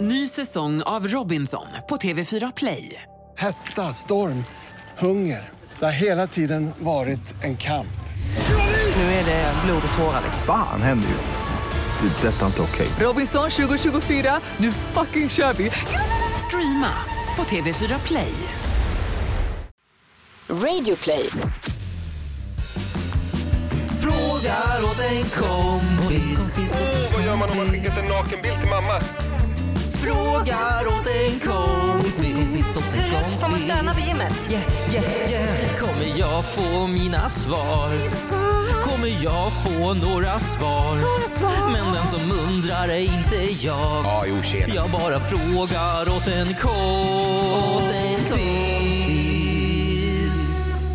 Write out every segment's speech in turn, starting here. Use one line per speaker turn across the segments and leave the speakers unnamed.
Ny säsong av Robinson på TV4 Play.
Hetta, storm, hunger. Det har hela tiden varit en kamp.
Nu är det blod och tårar.
Fan händer just nu. Det. är Detta är inte okej.
Robinson 2024, nu fucking kör vi! Streama på TV4 Play.
Radio play.
Frågar åt en kompis.
Vad gör man om man skickat en nakenbild till mamma?
Frågar åt en kompis. Åt en kompis. Får man stöna vid gymmet? Yeah, yeah, yeah. Kommer jag få mina svar? Kommer jag få några svar? Men den som undrar är inte jag.
Ja, jo tjena.
Jag bara frågar åt en kompis.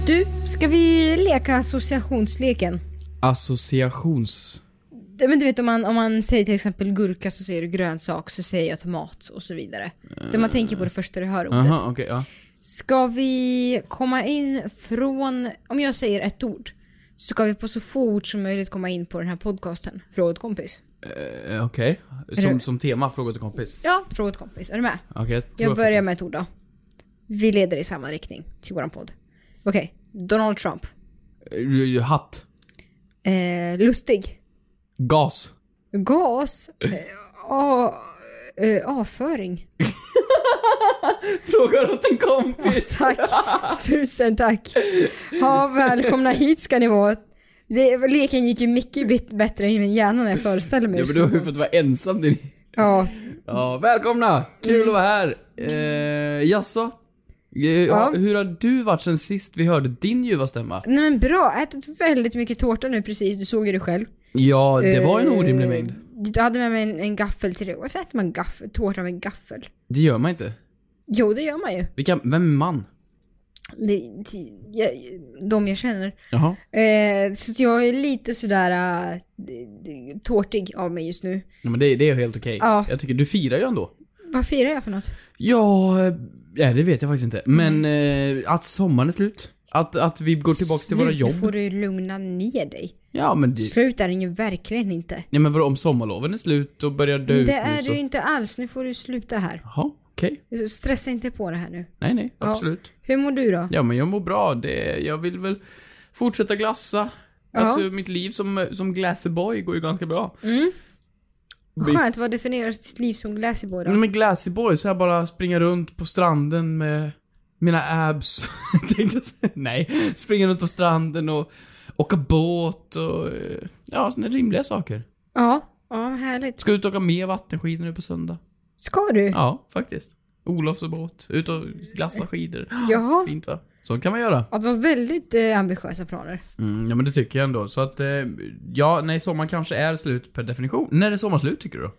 Du, ska vi leka associationsleken?
Associations...
Ja, Men du vet om man, om man säger till exempel gurka så säger du grönsak så säger jag tomat och så vidare. Det man tänker på det första du hör ordet.
Aha, okej, ja.
Ska vi komma in från, om jag säger ett ord, så ska vi på så få ord som möjligt komma in på den här podcasten. Fråga åt kompis.
Eh, Okej. Som, som tema, fråga till kompis.
Ja, fråga åt kompis. Är du med?
Okej, jag, tror
Jag börjar
fattar.
med ett ord då. Vi leder i samma riktning till våran podd. Okej, Donald Trump.
Eh, Hatt.
Eh, lustig.
Gas.
Gas. Eh, a- eh, avföring.
Frågar åt en kompis.
Tack. Tusen tack. Ja, välkomna hit ska ni vara. Det, leken gick ju mycket bit- bättre i min hjärna när jag föreställde mig
Ja,
hur
men du har
det
ju
skulle
fått vara ensam din...
vara. Ja,
Ja, välkomna! Kul att vara här. Eh, jaså? Eh,
Ja.
Hur har du varit sen sist vi hörde din ljuva stämma?
nej men bra. Jag har ätit väldigt mycket tårta nu precis. Du såg ju det själv.
Ja, det var en orimlig
Eh,
mängd.
Du hade med mig en, en gaffel till det. Varför äter man gaffel, tårta med gaffel?
Det gör man inte.
Jo, det gör man ju.
Vilka, vem är man?
Det, ti- jag, de jag känner.
Jaha.
Eh, så att jag är lite sådär äh, d- d- tårtig av mig just nu.
Ja, men det, det är helt okej.
Ja.
Jag tycker, du firar ju ändå.
Vad firar jag för något?
Ja, eh, nej, det vet jag faktiskt inte.
Mm.
Men eh, att sommaren är slut. Att, att vi går tillbaka till våra
Slut,
jobb.
Nu får du ju lugna ner dig.
Ja, men det...
Slut är den ju verkligen inte.
Nej men vadå, om sommarloven är slut och börjar dö ut
Det
nu
är
så...
du ju inte alls. Nu får du sluta här.
Jaha, okej.
Stressa inte på det här nu.
Nej, nej,
Ja.
absolut.
Hur mår du då?
Ja, men jag mår bra. Det, jag vill väl fortsätta glassa.
Ja.
Alltså, mitt liv som, som glassyboy går ju ganska bra. vi-
Skönt, vad definieras ditt liv som glassyboy
Nej,
då?
men glassyboy, så jag bara springa runt på stranden med mina abs. Tänkte jag säga. nej, springa runt på stranden och åka båt och... eh, Ja, såna rimliga saker.
Ja, ja vad härligt.
Ska ut och åka mer vattenskidor nu på söndag.
Ska du?
Ja, faktiskt. Olofs och båt. Ut och glassa skidor.
Jaha.
Fint va? Så kan man göra.
Ja, det var väldigt eh, ambitiösa planer.
Mm, ja men det tycker jag ändå. Så att, eh, ja, nej sommaren kanske är slut per definition. När är sommaren slut tycker du då?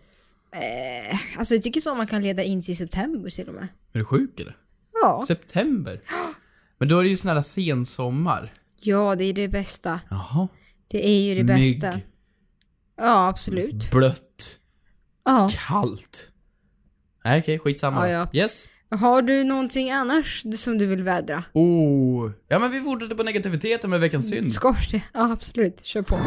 Alltså jag tycker så man kan leda in sig i september till och med.
Är du sjuk eller?
Ja.
September? Men då är det ju sån här sensommar.
Ja, det är det bästa.
Jaha.
Det är ju det
Mygg.
bästa. Ja, absolut.
Blött.
Ja.
Kallt. Nej okej, skitsamma.
Ja,
Yes.
Har du någonting annars som du vill vädra?
Oh. Ja men vi fortsätter på negativiteten med veckans synd.
Ska det? Ja, absolut. Kör på.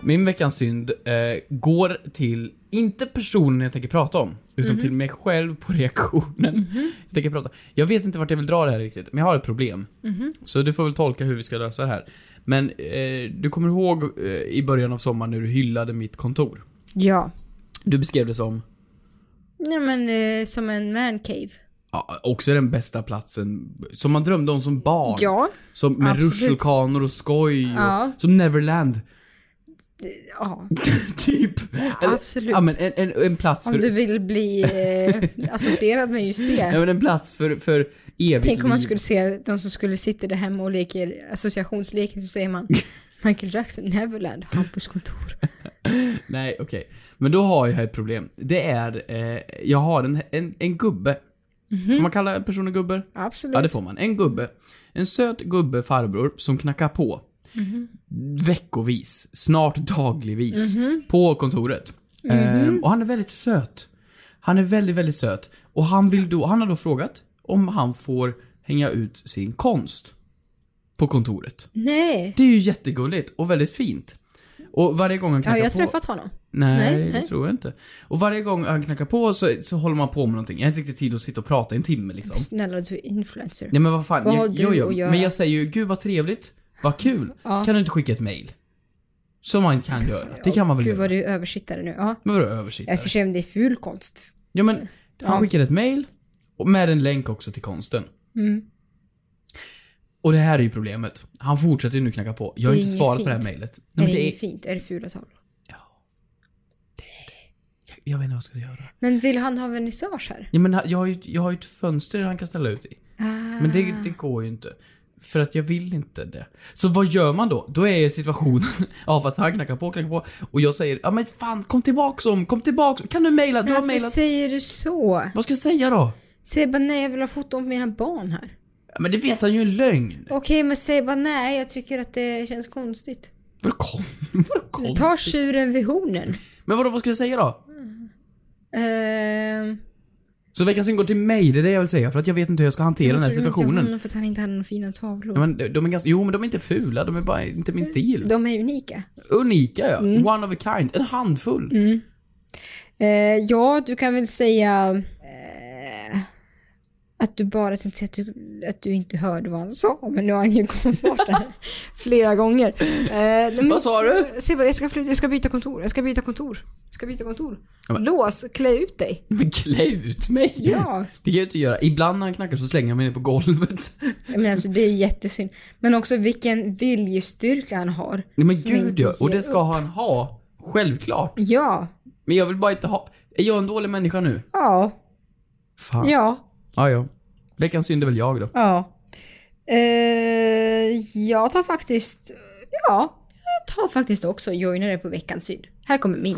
Min veckans synd eh, går till, inte personen jag tänker prata om, utan
Mhm.
till mig själv på reaktionen. Jag, tänker prata. jag vet inte vart jag vill dra det här riktigt, men jag har ett problem.
Mhm.
Så du får väl tolka hur vi ska lösa det här. Men eh, du kommer ihåg eh, i början av sommaren när du hyllade mitt kontor?
Ja.
Du beskrev det som
Nej men eh, som en mancave.
ja, också den bästa platsen som man drömde om som barn.
Ja.
Som, med
absolut.
rutschkanor och skoj. Och,
Ja.
Som Neverland.
Ja.
typ. Eller-
absolut.
Ja, men en, en, en plats
Om
för
du vill bli eh, associerad med just
Ja,
det.
men en plats för, för evigt
Tänk om man
liv.
skulle se de som skulle sitta där hemma och leker associationsleken så säger man Michael Jackson, Neverland, Hampus kontor.
Nej, okej. Men då har jag ett problem. Det är, eh, jag har en, en, en gubbe.
Mhm.
Får man kalla personen gubbe?
Absolut.
Ja, det får man. En gubbe. En söt gubbe farbror som knackar på.
Mhm.
Veckovis, snart dagligvis,
Mhm.
på kontoret. Ehm, och han är väldigt söt. Han är väldigt, väldigt söt. Och han, vill då, han har då frågat om han får hänga ut sin konst på kontoret.
Nej.
Det är ju jättegulligt och väldigt fint. Och varje gång han
Har
knackar
jag
på...
träffat honom?
Nej,
Nej,
det
nej.
tror jag inte. Och varje gång han knackar på så, så håller man på med någonting. Jag har inte riktigt tid att sitta och prata i en timme liksom.
Snälla du är influencer.
Nej men vad fan,
Vad har
jag,
du
jo, jo,
att göra?
men jag säger ju gud vad trevligt, vad kul.
Ja.
Kan du inte skicka ett mail? Som man kan göra. Det kan man väl
Gud
göra.
vad du är översittare nu. Ja.
Men vadå
Jag
översittare?
är för sig om det är ful konst.
Ja men, han
Ja.
skickade ett mail och med en länk också till konsten.
Mm.
Och det här är ju problemet. Han fortsätter ju nu knacka på. Jag har
Det är
inte
inget
svarat på det här
fint.
mejlet.
Är
Nej, men
det,
det
inget
är,
fint? Är det fula tavlor?
jag, jag vet inte vad jag ska göra.
Men vill han ha vernissage här?
Ja, men ha- jag, har ju, jag har ju ett fönster han kan ställa ut i. Men det,
Ah.
det går ju inte. För att jag vill inte det. Så vad gör man då? Då är situationen av att han knackar på, knackar på och jag säger ja men fan kom tillbaks om, kom tillbaks. Kan du mejla? Du har
Varför
mejlat.
säger du så?
Vad ska jag säga då?
Säg bara nej, jag vill ha foton på mina barn här.
Ja, men det vet han ju är en lögn.
Okej, men säg bara nej, jag tycker att det känns konstigt.
Vadå kon- vadå
Du
konstigt?
tar tjuren vid hornen.
Men vadå, vad ska jag säga då? Mm.
Ehm,
Så veckans synd går till mig, det är det jag vill säga. För att jag vet inte hur jag ska hantera den här
jag tror inte om
situationen. Mm.
honom för att han inte hade några fina tavlor.
Ja, men de de är ganska, jo men de är inte fula, de är bara inte min stil.
De är unika.
Unika ja.
Mm.
One of a kind. En handfull.
Eh, ja, du kan väl säga eh, att du bara tänkte säga att du, att du inte hörde vad han sa, men nu har han ju kommit bort det här flera gånger. Eh, nej, men
Vad sa du?
Se bara, jag ska, flytta, jag ska byta kontor, jag ska byta kontor, jag ska byta kontor.
men-
Lås, klä ut dig.
Men klä ut mig!
Ja.
Det kan jag inte göra. Ibland när han knackar så slänger jag mig ner på golvet.
Men alltså det är jättesynd. Men också vilken viljestyrka han har.
Nej men
som
gud
inte
ja, och
ger
det ska
upp.
han ha. Självklart.
Ja,
Men jag vill bara inte ha... Är jag en dålig människa nu?
ja,
Fan.
ja,
Ja, ja. Veckans synd är väl jag då.
ja. Eh, jag tar faktiskt, ja, jag tar faktiskt också joinare på veckans syd. Här kommer min.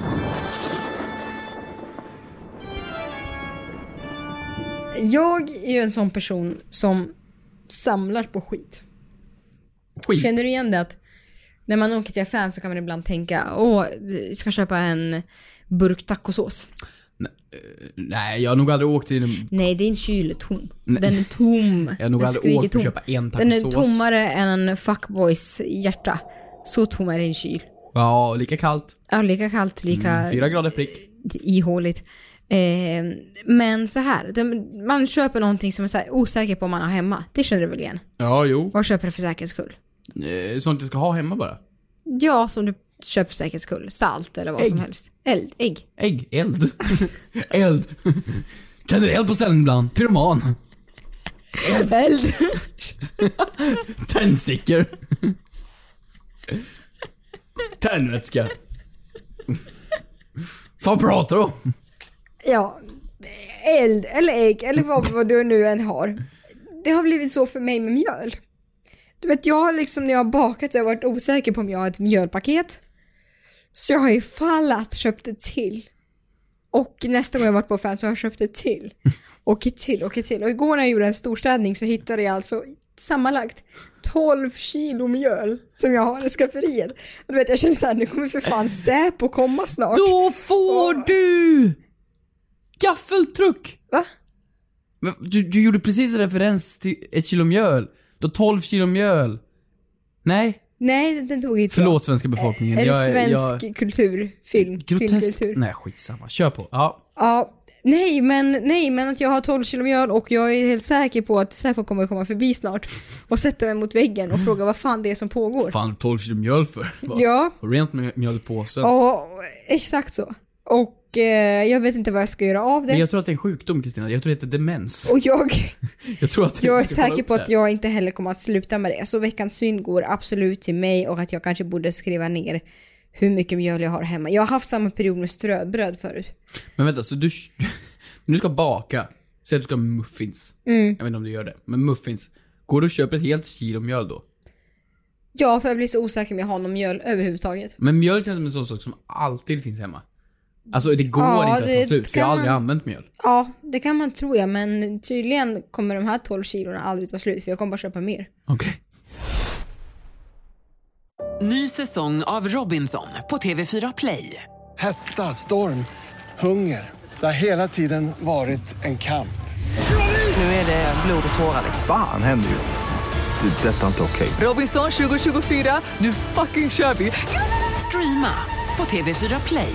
Jag är ju en sån person som samlar på skit.
Skit.
Känner du igen det att när man åker till affären så kan man ibland tänka åh, jag ska köpa en burk tacosås.
Nej, jag har nog aldrig åkt i en...
Nej, din kyl är tom. Den är tom.
Jag har nog
Den
aldrig
skriker
åkt för att
tom.
köpa en
Den är
tacosås.
tommare än en fuckboys hjärta. Så tom är din kyl.
Ja, lika kallt.
Ja, lika kallt, lika
Fyra grader prick.
ihåligt. Eh, men så här, den, man köper någonting som är så här osäker på om man har hemma. Det känner du väl igen?
Ja, jo.
Vad köper du för säkerhets skull?
Eh, Sånt jag ska ha hemma bara.
Ja, som du köper för säkerhets skull. Salt eller vad som
Ägg.
helst. Eld, ägg.
Ägg. Eld. eld. Tänder eld på ställen ibland. Pyroman.
Eld.
Tändstickor. Tändvätska. Vad pratar du om?
Ja, eld eller ägg eller vad, vad du nu än har. Det har blivit så för mig med mjöl. Du vet, jag har liksom när jag har bakat så har jag varit osäker på om jag har ett mjölpaket. Så jag har ifall att köpt ett till. Och nästa gång jag varit på affären så har jag köpt ett till. Och ett till och ett till. Och igår när jag gjorde en storstädning så hittade jag alltså sammanlagt 12 kilo mjöl som jag har i skafferiet. Och du vet, jag känner såhär, nu kommer för fan Säpo komma snart.
Då får du! Gaffeltruck!
Va?
Men Du, du gjorde precis en referens till ett kilo mjöl. Du har 12 kilo mjöl. Nej,
Nej, den- den tog inte jag.
förlåt svenska befolkningen.
Är
Jag
det svensk
jag-
kultur? Film?
Grotesk.
Filmkultur?
Nej, skitsamma. Kör på. Ja.
Ja, nej, men, nej, men att jag har 12 kilo mjöl och jag är helt säker på att Säpo kommer komma förbi snart och sätta mig mot väggen och fråga vad fan det är som pågår.
Fan, 12 kilo mjöl för. Vad-
Ja,
Och rent med mjöl i påsen.
ja, exakt så. Och eh, jag vet inte vad jag ska göra av
Men
det.
jag tror att det är en sjukdom Kristina. Jag tror det heter demens.
Och jag,
Jag tror att
jag är
ska kolla
säker
upp
på
det.
att jag inte heller kommer att sluta med det. Så veckans synd går absolut till mig och att jag kanske borde skriva ner hur mycket mjöl jag har hemma. Jag har haft samma period med ströbröd förut.
Men vänta, så du... När du ska baka, säg att du ska ha muffins.
Mm.
Jag vet inte om du gör det, men muffins. Går du och köper ett helt kilo mjöl då?
Ja, för jag blir så osäker om jag har någon mjöl överhuvudtaget.
Men mjöl känns som en sån sak som alltid finns hemma. Alltså det går
Ja,
inte att
det
ta slut, för
kan
jag har aldrig
man-
använt mjöl.
Ja, det kan man tro ja, men tydligen kommer de här 12 kilorna aldrig ta slut för jag kommer bara köpa mer.
Okej.
Ny säsong av Robinson på TV4 Play.
Hetta, storm, hunger. Det har hela tiden varit en kamp.
Nu är det blod och tårar.
Fan händer just det. Det är detta inte okej.
Robinson 2024, nu fucking kör vi! Streama på TV4 Play.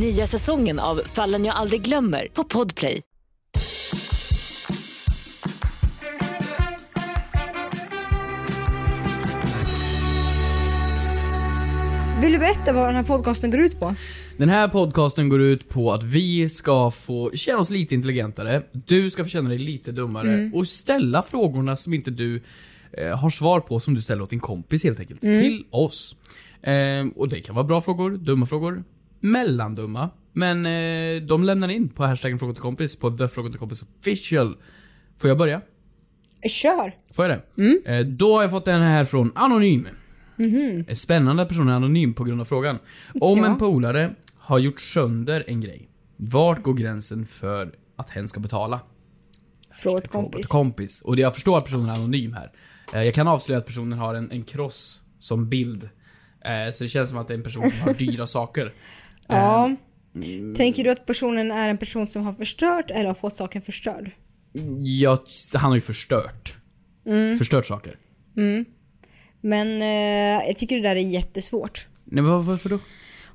Nya säsongen av Fallen jag aldrig glömmer på Podplay.
Vill du berätta vad den här podcasten går ut på?
Den här podcasten går ut på att vi ska få känna oss lite intelligentare, du ska få känna dig lite dummare och ställa frågorna som inte du eh, har svar på som du ställer åt din kompis helt enkelt. Till oss. Eh, och det kan vara bra frågor, dumma frågor, mellandumma. Men eh, de lämnar in på hashtaggen fråga till kompis på the fråga till kompis official. Får jag börja?
Kör!
Får jag det?
Mm.
Eh, då har jag fått den här från Anonym. Eh, Spännande att personen är anonym på grund av frågan. Om
Mhm. Ja.
en polare har gjort sönder en grej, vart går gränsen för att hen ska betala?
Fråga ett
Fråga till
kompis.
kompis. Och det- jag förstår att personen är anonym här. Eh, Jag kan avslöja att personen har en, en kross som bild. Eh, Så det känns som att det är en person som har dyra saker.
Ja. Tänker du att personen är en person som har förstört eller har fått saken förstörd?
Jag, han har ju förstört.
Mm.
Förstört saker.
Men eh, jag tycker det där är jättesvårt.
Nej, men var- varför då?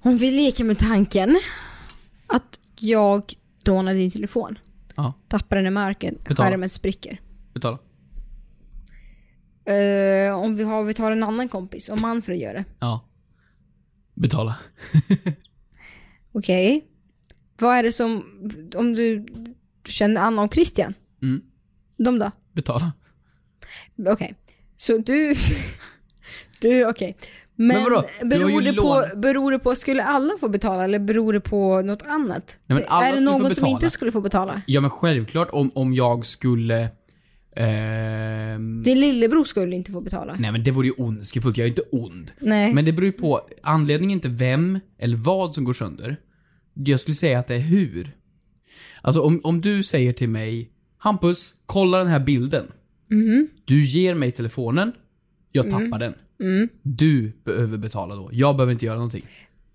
Om vi leker med tanken att jag rånar din telefon.
Ja.
Tappar den i marken,
Betala.
skärmen spricker.
Betala.
Eh, om vi, har, vi tar en annan kompis, om Manfred gör det.
Ja. Betala.
Okej. Vad är det som, om du känner Anna och Christian?
Mm.
De då?
Betala.
Okej. Så du... du, okej. Men,
Men vadå? Du har ju
beror, det på,
lån-
beror det på, skulle alla få betala eller beror det på något annat?
Nej, men alla
är det
skulle få
någon som
betala. Mm.
inte skulle få betala?
Ja men självklart om, om jag skulle... ehm,
Din lillebror skulle inte få betala.
Nej men det vore ju ondskefullt, jag är ju inte ond.
Nej.
Men det beror ju på, anledningen är inte vem eller vad som går sönder. Jag skulle säga att det är hur. Alltså om, om du säger till mig, Hampus, kolla den här bilden.
Mm-hmm.
Du ger mig telefonen, jag
Mm.
tappar den. Du behöver betala då, jag behöver inte göra någonting.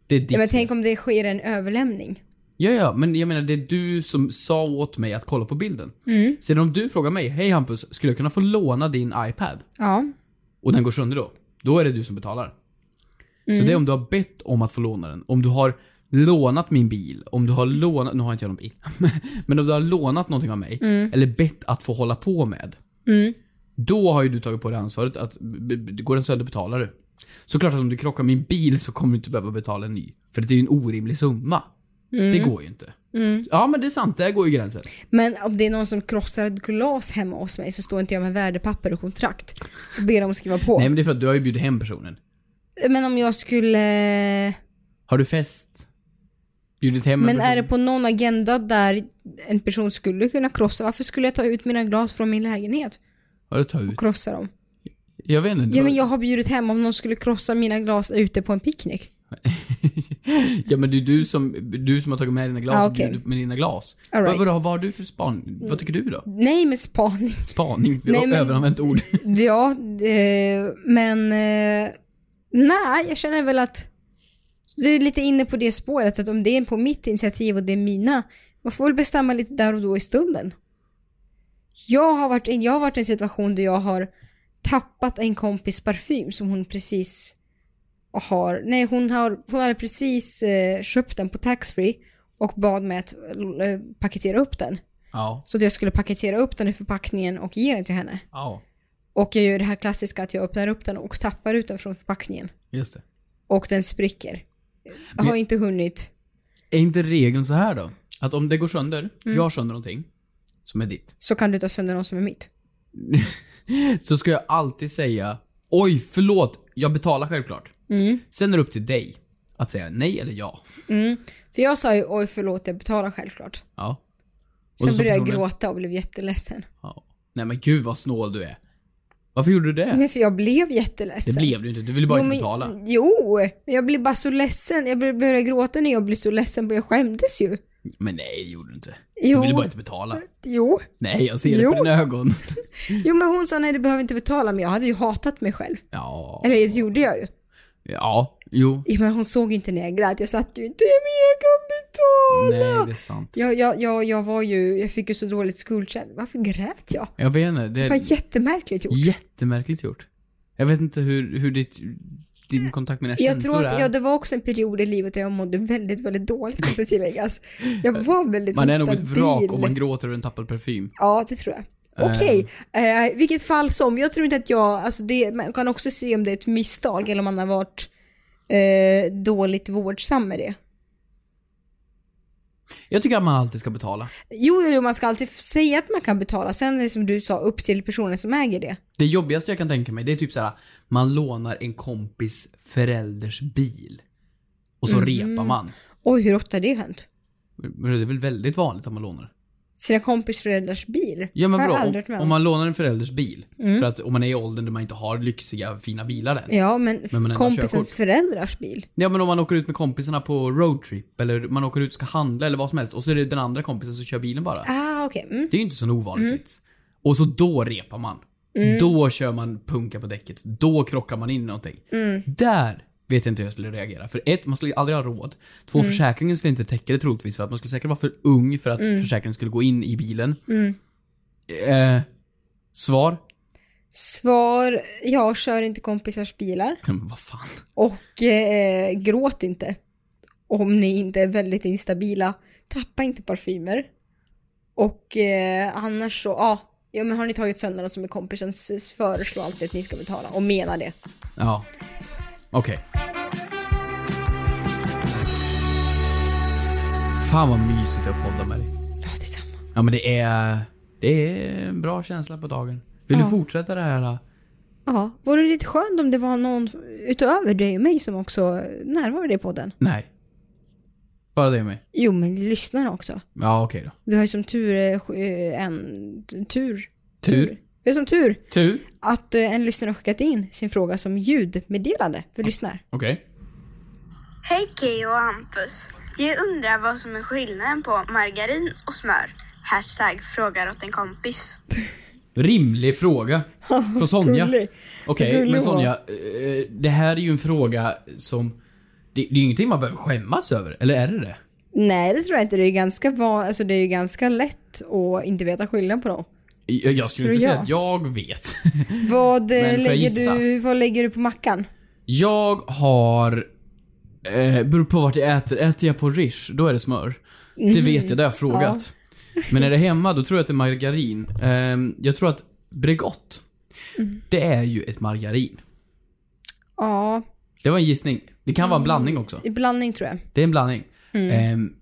Det är ditt
Ja, men
fel.
tänk om det sker en överlämning.
Ja, ja, men jag menar det är du som sa åt mig att kolla på bilden. Sen om du frågar mig, hej Hampus, skulle jag kunna få låna din iPad?
Ja.
Och den går sönder då. Då är det du som betalar.
Mm.
Så det är om du har bett om att få låna den. Om du har lånat min bil, om du har lånat, nu har inte jag någon bil. men om du har lånat någonting av mig,
Mm.
eller bett att få hålla på med. Då har ju du tagit på dig ansvaret att b- b- går den sönder betalar du. Såklart att om du krockar min bil så kommer du inte behöva betala en ny. För det är ju en orimlig summa.
Mm.
Det går ju inte. Ja men det är sant, där går ju gränsen.
Men om det är någon som krossar ett glas hemma hos mig så står inte jag med värdepapper och kontrakt och ber dem att skriva på.
Nej men det är för att du har ju bjudit hem personen.
Men om jag skulle...
Har du fest? Bjudit hem en
Men är
person?
det på någon agenda där en person skulle kunna krossa? Varför skulle jag ta ut mina glas från min lägenhet
Har du tagit ut?
och krossa dem?
Jag vet inte.
Ja men jag har bjudit hem om någon skulle krossa mina glas ute på en picknick.
ja, men det är du som, du som har tagit med dina glas
Ah,
och
okej.
bjudit med dina glas.
All right.
Vad, vad, vad har du för span... Vad tycker du då?
Nej men spaning.
Spaning? Vi
Nej,
har
men-
överanvänt ord.
Ja, eh, men... Eh, nej, jag känner väl att... Du är lite inne på det spåret, att om det är på mitt initiativ och det är mina, man får väl bestämma lite där och då i stunden. Jag har varit, i- jag har varit i en situation där jag har tappat en kompis parfym som hon precis har, nej hon har, hon hade precis eh, köpt den på taxfree och bad mig att eh, paketera upp den.
ja.
Så att jag skulle paketera upp den i förpackningen och ge den till henne.
Ja.
Och jag gör det här klassiska att jag öppnar upp den och tappar ut den från förpackningen.
Just det.
Och den spricker. Jag
Men-
har inte hunnit.
Är inte regeln så här då? Att om det går sönder,
Mm.
jag har sönder någonting som är ditt.
Så kan du ta sönder någon som är mitt.
Så ska jag alltid säga Oj, förlåt, jag betalar självklart.
Mm.
Sen är det upp till dig att säga nej eller ja.
För jag sa ju oj förlåt jag betalar självklart.
Ja. Och
Sen
så
började jag
personen-
gråta och blev jätteledsen.
Ja. Nej men gud vad snål du är. Vad Varför gjorde du det?
Men för jag blev jätteledsen.
Det blev du inte, du ville bara
Jo,
inte
men-
betala.
Jo, men jag blev bara så ledsen. Jag började började gråta när jag blev så ledsen, för jag skämdes ju.
Men nej, det gjorde du inte. Du
Jo.
ville bara inte betala.
Jo.
Nej, jag ser det på
Jo.
dina ögon.
Jo men hon sa nej du behöver inte betala, men jag hade ju hatat mig själv.
Ja,
Eller det gjorde jag ju.
ja, jo.
Jo, Men hon såg ju inte när jag grät, jag satt ju inte men jag kan betala.
Nej, det är sant.
Jag, jag, jag, jag var ju, jag fick ju så dåligt skuldkänning. Varför grät jag?
Jag vet inte, det
Det
är
var jättemärkligt gjort.
jättemärkligt gjort. Jag vet inte hur, hur ditt, din kontakt med dina
Jag
känslor
tror att
är.
jag, det var också en period i livet där jag mådde väldigt, väldigt dåligt måste tilläggas. Jag var väldigt
Man är nog ett
instabil.
vrak om man gråter över en tappad parfym.
Ja, det tror jag.
Eh.
Okej, eh, vilket fall som. Jag tror inte att jag, alltså det, man kan också se om det är ett misstag eller om man har varit eh, dåligt vårdsam med det.
Jag tycker att man alltid ska betala.
Jo, jo, jo, man ska alltid f- säga att man kan betala. Sen är det som du sa, upp till personen som äger det.
Det jobbigaste jag kan tänka mig, det är typ så här: man lånar en kompis förälders bil. Och
Mm.
så repar man.
Oj, hur ofta har det hänt?
Men det är väl väldigt vanligt att man lånar?
Sina kompis föräldrars bil?
Ja men
har jag
bra,
aldrig varit
om,
med
om
om.
man lånar en förälders bil. För att om man är i åldern där man inte har lyxiga, fina bilar än.
Ja, men,
Men alltså, man ändrar
kompisens
körkort.
föräldrars bil.
Ja men om man åker ut med kompisarna på roadtrip eller man åker ut och ska handla eller vad som helst och så är det den andra kompisen som kör bilen bara.
Ah, okej. Mm.
Det är ju inte sån ovanlig sits. Och så då repar man. Då kör man punka på däcket. Då krockar man in i någonting.
Mm.
Där vet jag inte hur jag skulle reagera. För ett, man skulle aldrig ha råd. Två, försäkringen skulle inte täcka det troligtvis för att man skulle säkert vara för ung för att försäkringen skulle gå in i bilen. Eh, svar?
Svar, jag kör inte kompisars bilar.
Men vad fan.
Och eh, gråt inte. Om ni inte är väldigt instabila. Tappa inte parfymer. Och eh, annars så, ja. Ja men har ni tagit sönder något som är kompisen s- föreslå alltid att ni ska betala och mena det.
Ja. Okej. Fan vad mysigt att podda med dig.
Ja detsamma.
Ja men det är... Det är en bra känsla på dagen. Vill du fortsätta det här?
Ja, vore det lite skönt om det var någon utöver dig och mig som också närvarade i podden?
Nej. Bara det med.
Jo men lyssnarna också.
Ja okej då.
Vi har ju som tur eh, sk- eh, en tur.
Tur.
Vi har som tur
Tur.
att eh, en lyssnare har skickat in sin fråga som ljudmeddelande för lyssnare.
Okej.
Hej Keyyo och Hampus. Jag undrar vad som är skillnaden på margarin och smör. Hashtag frågar åt en kompis.
Rimlig fråga. Från Sonja.
Gullig.
Okej,
Gullig
men
hon.
Sonja. eh, Det här är ju en fråga som... Det, det är ju ingenting man behöver skämmas över. Eller är det det?
Nej, det tror jag inte. Det är ju ganska, van... alltså, det är ju ganska lätt att inte veta skillnad på dem.
Jag, jag skulle
Tror
inte säga
jag.
att jag vet.
Vad, eh,
får jag
lägger,
gissa?
du, vad lägger du på mackan?
Jag har... Eh, beror på vart jag äter. Äter jag på Rish, då är det smör. Det vet jag, det har jag
Mm.
frågat. Men är det hemma, då tror jag att det är margarin. Ehm, jag tror att Bregott,
Mm.
det är ju ett margarin.
Ja,
Det var en gissning. Det kan vara en blandning också.
i blandning tror jag.
Det är en blandning.
Mm.
Ehm,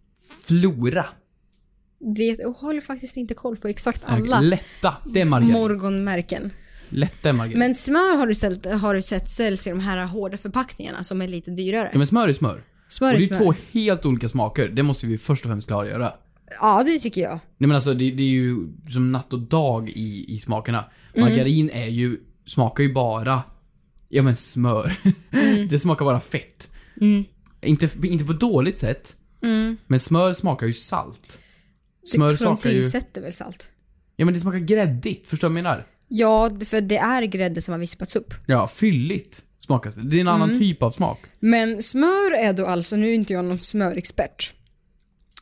flora.
Vet, jag håller faktiskt inte koll på exakt alla
Ehm, Lätta. Det är margarin.
morgonmärken.
Lätta är margarin.
Men smör har du, sett, har du sett säljs i de här hårda förpackningarna som är lite dyrare.
ja, men smör är smör.
Smör
och
är
det är
smör.
två helt olika smaker. Det måste vi först och främst klargöra.
Ja, det tycker jag.
Nej men alltså det, det är ju som natt och dag i, i smakerna. Margarin är ju, smakar ju bara, ja men smör. det smakar bara fett. Inte, inte på dåligt sätt, men smör smakar ju salt. Smör
det, för de
smakar ju,
tillsätter väl salt?
ja men det smakar gräddigt, förstår du vad jag menar?
Ja, för det är grädde som har vispats upp.
Ja, fylligt smakas det. Det är en annan typ av smak.
Men smör är då alltså, nu är inte jag någon smörexpert.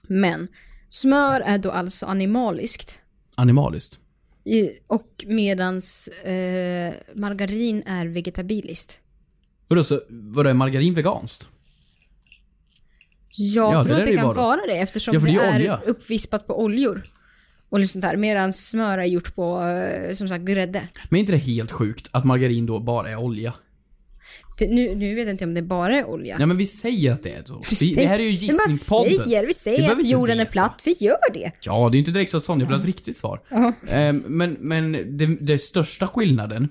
Men smör är då alltså animaliskt.
Animaliskt.
I- Och medans eh, margarin är vegetabiliskt.
Vadå, så, vadå är margarin veganskt?
Jag
Ja, det
tror
lär
att det
det ju
kan
vara.
vara det eftersom
Ja, för
det,
det är
är
olja.
uppvispat på oljor. Och liksom lite sånt där. Medan smör är gjort på, eh, som sagt, grädde.
Men är inte det helt sjukt att margarin då bara är olja?
Det, nu, nu vet jag inte om det bara är olja.
Ja men vi säger att det är så. Vi, det här är ju
Vi
gissningspodden.
bara säger, vi
Vi
säger
behöver
att
inte
jorden är
veta.
platt. Vi gör det.
Ja, det är ju inte direkt så att Sonja vill ha ett riktigt svar. Ehm, men men det, det största skillnaden,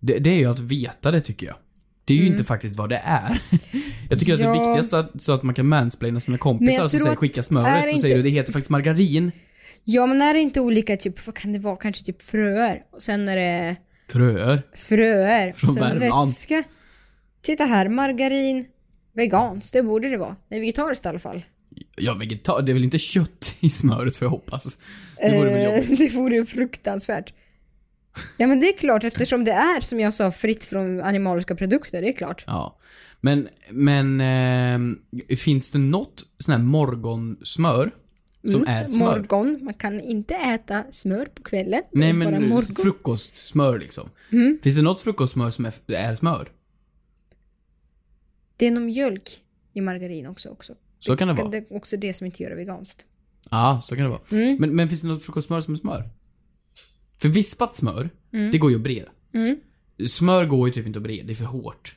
det, det är ju att veta det tycker jag. Det är ju inte faktiskt vad det är. Jag tycker att det
Mm. Ja.
viktigaste är att, så att man kan mansplaina sina
Men
kompisar
jag
som
tror
säger
att-
skicka
är
smöret, så
det inte-
säger du det heter faktiskt margarin.
Ja men är det inte olika typ, vad kan det vara, kanske typ fröer? Och sen är det
Fröer.
Fröer.
Från
Sen
Värmland.
Vätska. Titta här, margarin. Veganskt, det borde det vara. Det är vegetariskt i alla fall.
Ja, vegetar. Det är väl inte kött i smöret får jag hoppas. Det vore väl
Eh,
jobbigt.
det vore ju fruktansvärt. Ja men det är klart eftersom det är som jag sa fritt från animaliska produkter, det är klart.
Ja. Men, men eh, finns det något sån här morgonsmör som
Mm.
är smör?
Morgon, man kan inte äta smör på kvällen. Det
Nej
är
men
bara morgon.
frukostsmör liksom.
Mm.
Finns det något frukostsmör som är, är smör?
Det är nog mjölk i margarin också. också.
Så kan det vara.
Det är också det som inte gör det veganskt.
Ja, så kan det vara.
Mm.
Men, men finns det något frukostsmör som är smör? För vispat smör,
Mm.
det går ju att breda.
Mm.
Smör går ju typ inte att breda, det är för hårt.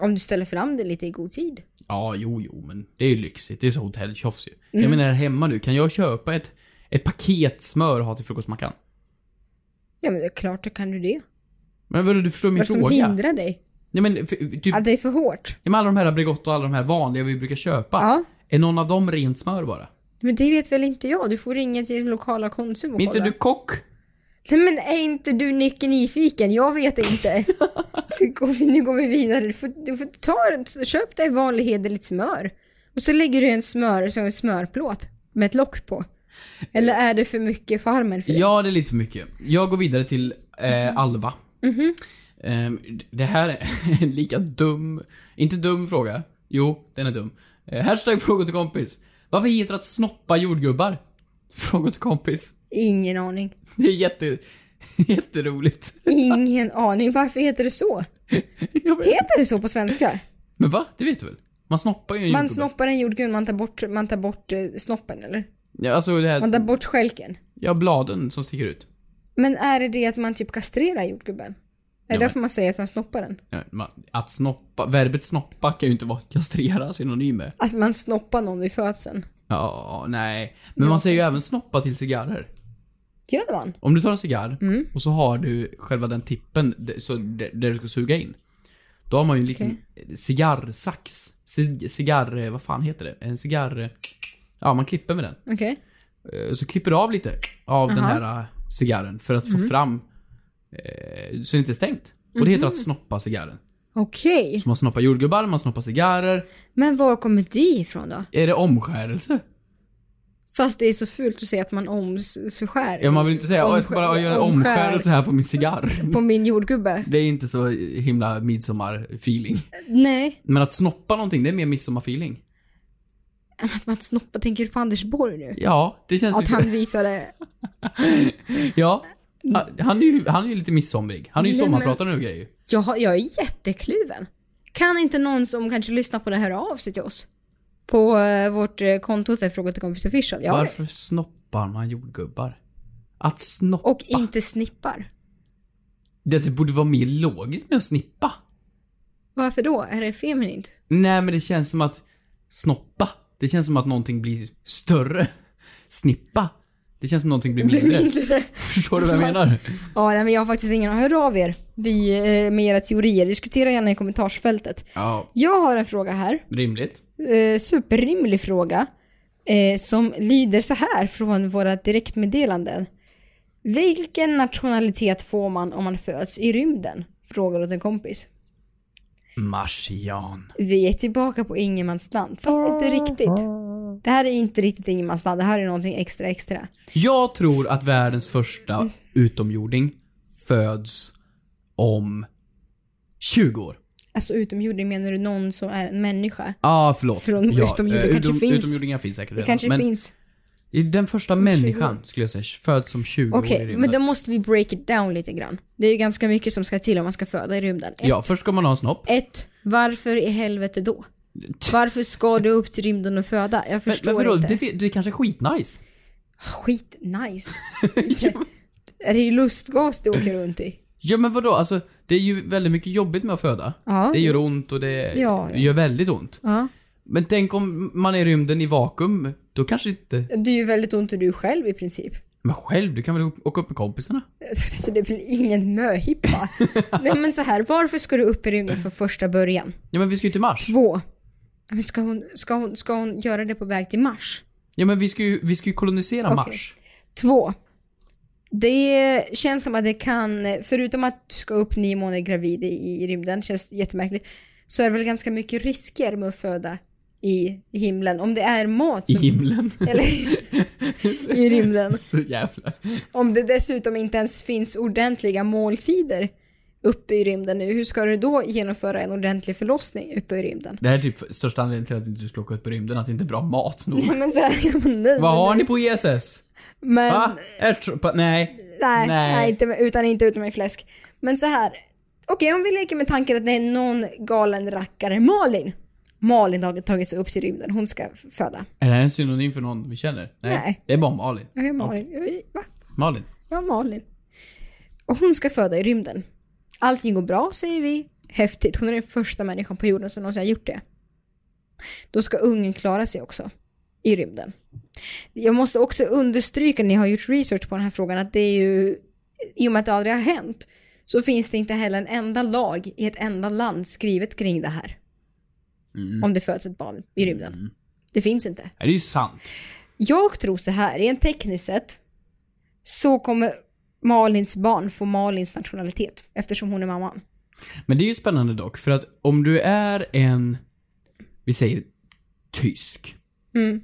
Om du ställer fram det lite i god tid.
Ja, jo, jo, men det är ju lyxigt. Det är så hotelltjofs ju. Jag
Mm.
menar hemma nu, kan jag köpa ett, ett paket smör och ha till frukostmackan?
Ja men det är klart då kan du det.
Men vadå, du förstår min
Vad som
fråga?
hindrar dig?
Nej men, för, typ,
Att det är för hårt?
ja, men alla de här Bregott och alla de här vanliga vi brukar köpa.
Ja.
Är någon av dem rent smör bara?
Men det vet väl inte jag? Du får ringa till din lokala Konsum och
Men inte
kolla.
du kock?
Nej men är inte du Nicke nyfiken? Jag vet inte. Nu går vi- nu går vi vidare. Du får, du får ta, köp dig vanlig hederligt smör. Och så lägger du en smör som en smörplåt med ett lock på. Eller är det för mycket farmen för dig?
Ja, det är lite för mycket. Jag går vidare till eh, Alva.
Mhm.
Ehm, det här är en lika dum... Inte dum fråga. Jo, den är dum. Eh, hashtag fråga till kompis. Varför heter det att snoppa jordgubbar? Fråga till kompis.
Ingen aning.
Det är jätte, jätteroligt.
Ingen aning. Varför heter det så? Heter det så på svenska?
Men va? Det vet du väl? Man snoppar ju en
Man
jordgubbe.
snoppar en jordgubbe, man tar bort, man tar bort eh, snoppen eller?
ja, alltså det
Man tar
här...
bort stjälken.
Ja, bladen som sticker ut.
Men är det det att man typ kastrerar jordgubben? Är
Ja,
det därför man säger att man snoppar den?
Ja, man, att snoppa... Verbet snoppa kan ju inte vara kastrera synonym med.
Att man snoppar någon vid födseln?
Ja, nej. Men man säger ju även snoppa till cigarrer.
Gör man?
Om du tar en cigarr och så har du själva den tippen d- så d- där du ska suga in. Då har man ju en liten cigarrsax. Cig- cigarr... eh, Vad fan heter det? En cigarr... eh, Ja, man klipper med den.
Okej.
Eh, Så klipper du av lite av den
Aha.
här eh, cigarren för att få
Mhm.
fram eh, så det inte är stängt. Och det heter att
Mhm.
snoppa cigarren.
Okej.
Så man snoppar jordgubbar, man snoppar cigarrer.
Men var kommer det ifrån då?
Är det omskärelse?
Fast det är så fult att säga att man omskär.
Ja, man vill inte säga "Åh, jag ska bara göra
omskär-
omskärelse här på min cigarr.
På min jordgubbe?
Det är inte så himla midsommar-feeling.
Nej.
Men att snoppa någonting, det är mer midsommar-feeling.
Att man snoppar, tänker du på Anders Borg nu?
Ja, det känns
Att
lite...
han visade...
Ja. Han, han, är ju, han är ju lite midsomrig. Han är ju
Nej, men-
sommarpratare nu och grejer.
Jag, har- jag är jättekluven. Kan inte någon som kanske lyssnar på det höra av sig till oss? På eh, vårt eh, konto där Fråga till kompis official. Jag har det.
Varför snoppar man jordgubbar? Att snoppa...
Och inte snippar.
Det, det borde vara mer logiskt med att snippa.
Varför då? Är det feminint?
Nej, men det känns som att snoppa, det känns som att någonting blir större. Snippa, det känns som någonting blir mindre. Förstår du vad jag menar?
Ja, nej, men jag har faktiskt ingen aning. Hör av er vi, eh, med era teorier. Diskutera gärna i kommentarsfältet.
Ja,
Jag har en fråga här.
rimligt.
Eh, superrimlig fråga. Eh, som lyder så här från våra direktmeddelanden. Vilken nationalitet får man om man föds i rymden? Frågar åt en kompis.
Marsian.
Vi är tillbaka på ingenmansland, fast inte riktigt. Det här är inte riktigt ingenmansland, det här är någonting extra extra.
Jag tror att världens första utomjording föds om 20 år.
Alltså utomjording menar du någon som är en människa?
Ah, förlåt.
Från utomjording
eh,
kanske finns.
Utomjordingar finns säkert
Det
redan.
kanske
men
finns.
Den första människan skulle jag säga föds som 20 år
Okej,
i
men
rymden.
då måste vi break it down lite grann. Det är ju ganska mycket som ska till om man ska föda i rymden. Ett,
Ja, först ska man ha en snopp.
ett varför i helvete då? Varför ska du upp till rymden och föda? Jag
Men,
förstår
men vadå,
inte.
det, fi- det är kanske skitnice.
Skit nice. är det ju lustgas du åker runt i?
Ja men vadå, alltså det är ju väldigt mycket jobbigt med att föda.
Ja.
Det gör ont och det
Ja, ja.
gör väldigt ont.
Ja.
Men tänk om man är i rymden i vakuum, då kanske inte...
Det är ju väldigt ont i du själv i princip.
Men själv, du kan väl å- åka upp med kompisarna?
Så det blir ingen möhippa. Nej men så här, varför ska du upp i rymden från första början?
Ja men vi ska ju till Mars.
Två. Ja, Men ska, hon, ska, hon, ska hon göra det på väg till Mars?
Ja men vi ska ju, vi ska ju kolonisera
Okej.
Mars.
Två. Det känns som att det kan, förutom att du ska upp nio månader gravid i, i rymden, känns jättemärkligt, så är det väl ganska mycket risker med att föda i himlen. Om det är mat
I
som...
himlen?
Eller i rymden.
Så jävla...
Om det dessutom inte ens finns ordentliga målsidor uppe i rymden nu, hur ska du då genomföra en ordentlig förlossning uppe i rymden?
Det här är typ största anledningen till att inte du ska åka ut på rymden, att det inte är bra mat nog.
Nej, men så här, ja, men nej,
Mm. Vad har
men-
ni på Jesus?
Men-
Va? Ärtro... Nej.
Nej,
Nej.
nej. inte, med- utan inte utom i fläsk. Men så här. Okej, om vi leker med tanken att det är någon galen rackare, Malin. Malin har tagit sig upp till rymden, hon ska f- föda.
Är det här en synonym för någon vi känner?
Nej.
Det är bara Malin.
Okej, Malin. Oj, Va?
Malin.
Ja, Malin. Och hon ska föda i rymden. Allting går bra, säger vi. Häftigt, hon är den första människan på jorden som någonsin har gjort det. Då ska ungen klara sig också. I rymden. Jag måste också understryka när jag har gjort research på den här frågan att det är ju, i och med att det aldrig har hänt, så finns det inte heller en enda lag i ett enda land skrivet kring det här. Om det föds ett barn i rymden. Det finns inte.
Nej, det är ju sant.
Jag tror så här, rent tekniskt sett så kommer Malins barn få Malins nationalitet eftersom hon är mamman.
Men det är ju spännande dock, för att om du är en, vi säger tysk,
Mm.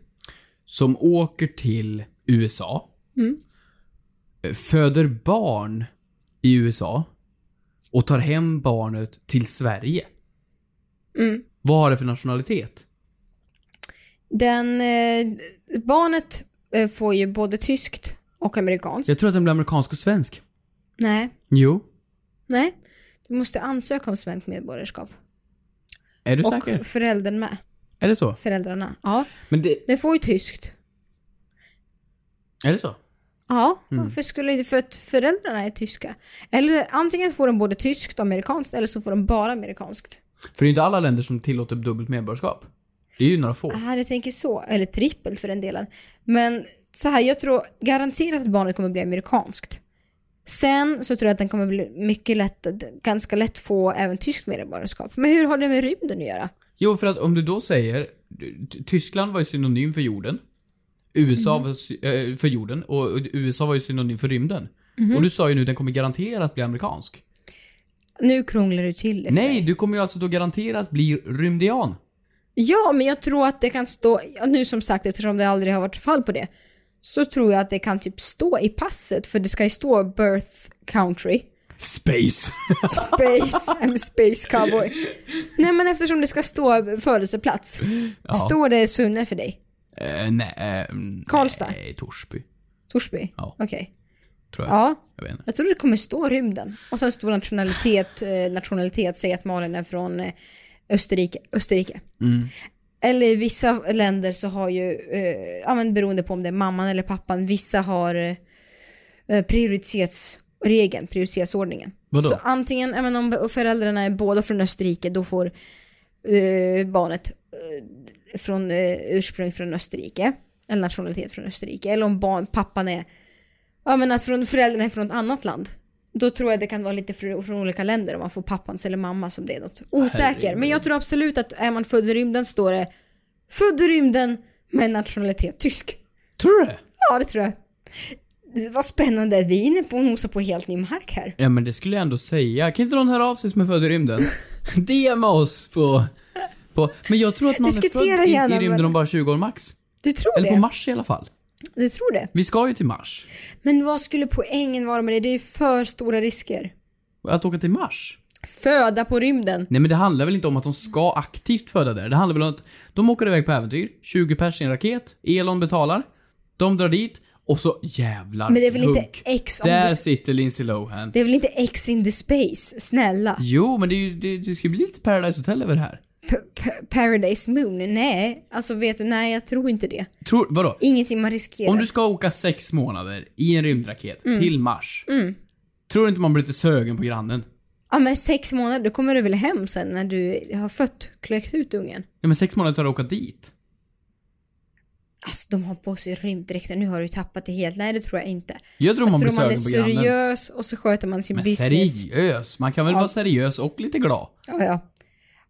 som åker till USA,
Mm.
eh, föder barn i USA och tar hem barnet till Sverige.
Mm.
Vad har det för nationalitet?
Den, eh, barnet eh, får ju både tyskt och amerikanskt.
Jag tror att den blir amerikansk och svensk.
Nej,
Jo.
nej. Du måste ansöka om svenskt medborgarskap.
Är du
och
säker?
föräldern med.
Är det så?
Föräldrarna. Ja.
Men det,
Den får ju tyskt.
är det så?
Ja,
Mm.
varför skulle det? För att föräldrarna är tyska. Eller antingen får de både tyskt och amerikanskt eller så får de bara amerikanskt.
För det är ju inte alla länder som tillåter dubbelt medborgarskap. Det är ju några få.
Ah, du tänker så. Eller trippelt för den delen. Men så här, jag tror garanterat att barnet kommer bli amerikanskt. Sen så tror jag att den kommer bli mycket lätt, ganska lätt få även tyskt medborgarskap. Men hur har det med rymden att göra?
Jo, för att om du då säger... Ty- Tyskland var ju synonym för jorden. USA
Mhm.
var sy- eh, för jorden och och USA var ju synonym för rymden.
Mhm.
Och du sa ju nu den kommer garanterat bli amerikansk.
Nu krånglar du till det för
Nej,
mig.
du kommer ju alltså då garanterat bli rymdian.
Ja, men jag tror att det kan stå, ja, nu som sagt eftersom det aldrig har varit fall på det, så tror jag att det kan typ stå i passet, för det ska ju stå birth country.
Space.
Space, I'm a space cowboy. Nej men eftersom det ska stå födelseplats.
Ja.
Står det Sunne för dig?
Eh, nej, eh, mm,
Karlstad?
Nej, Torsby.
Torsby?
Ja.
Okej.
Tror jag.
Ja.
Jag vet inte.
Jag tror det kommer stå rymden. Och sen står nationalitet, eh, nationalitet, säg att Malin är från eh, Österrike. Österrike.
Mm.
Eller i vissa länder så har ju, eh, ja men beroende på om det är mamman eller pappan, vissa har eh, prioritetsregeln, prioritetsordningen.
Vadå?
Så antingen, ja men om föräldrarna är båda från Österrike, då får eh, barnet eh, från eh, ursprung från Österrike, eller nationalitet från Österrike. Eller om barn, pappan är, ja men alltså från, föräldrarna är från ett annat land. Då tror jag det kan vara lite fr- från olika länder om man får pappans eller mamma som det är något. Osäker, men jag tror absolut att är man född i rymden står det Född i rymden med nationalitet tysk.
Tror du det?
Ja, det tror jag. Det- Vad spännande, vi är inne på och nosar på helt ny mark här.
Ja, men det skulle jag ändå säga. Kan inte någon höra av sig som är född i rymden? DMa oss på... på men jag tror att någon
Diskutera
är född
gärna,
i, i rymden
men-
om bara 20 år max.
Du tror
Eller på
det?
Mars i alla fall.
Du tror det?
Vi ska ju till Mars.
Men vad skulle poängen vara med det? Det är ju för stora risker.
Att åka till Mars?
Föda på rymden.
Nej men det handlar väl inte om att de ska aktivt föda där? Det handlar väl om att de åker iväg på äventyr, 20 pers i en raket, Elon betalar, de drar dit och så jävlar
Men det är väl inte
hugg.
X on
Där
the-
sitter Lindsay Lohan.
Det är väl inte X in the space? Snälla.
Jo, men det, är ju- det, det ska ju bli lite Paradise Hotel över det här.
P- Paradise Moon? Nej, alltså vet du, nej jag tror inte det.
Tror, vadå?
Ingenting man riskerar.
Om du ska åka sex månader i en rymdraket
Mm.
till Mars,
Mm.
tror du inte man blir lite sögen på grannen?
Ja men sex månader, då kommer du väl hem sen när du har fött, kläckt ut ungen?
Ja men sex månader tar det att åka dit.
Alltså de har på sig rymddräkter, nu har du tappat det helt. Nej det tror jag inte.
Jag tror
jag
man
tror
blir
man är
sögen på grannen.
seriös och så sköter man sin
Men
business.
seriös? Man kan väl vara seriös och lite glad?
Ja, ja.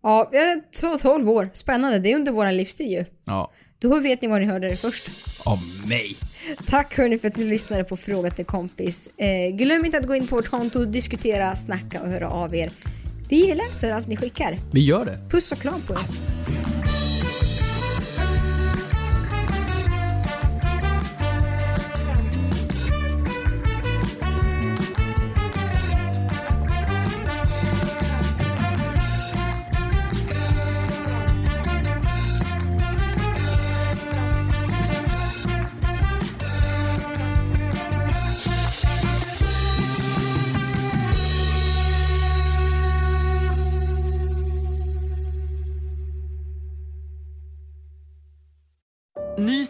Ja, jag tar 12 år. Spännande, det är under våran livstid ju.
Ja.
Då vet ni var ni hörde det först.
Av mig.
Tack hörni för att ni lyssnade på Fråga till kompis. Eh, glöm inte att gå in på vårt konto, diskutera, snacka och höra av er. Vi läser allt ni skickar.
Vi gör det.
Puss och kram på er.
Ny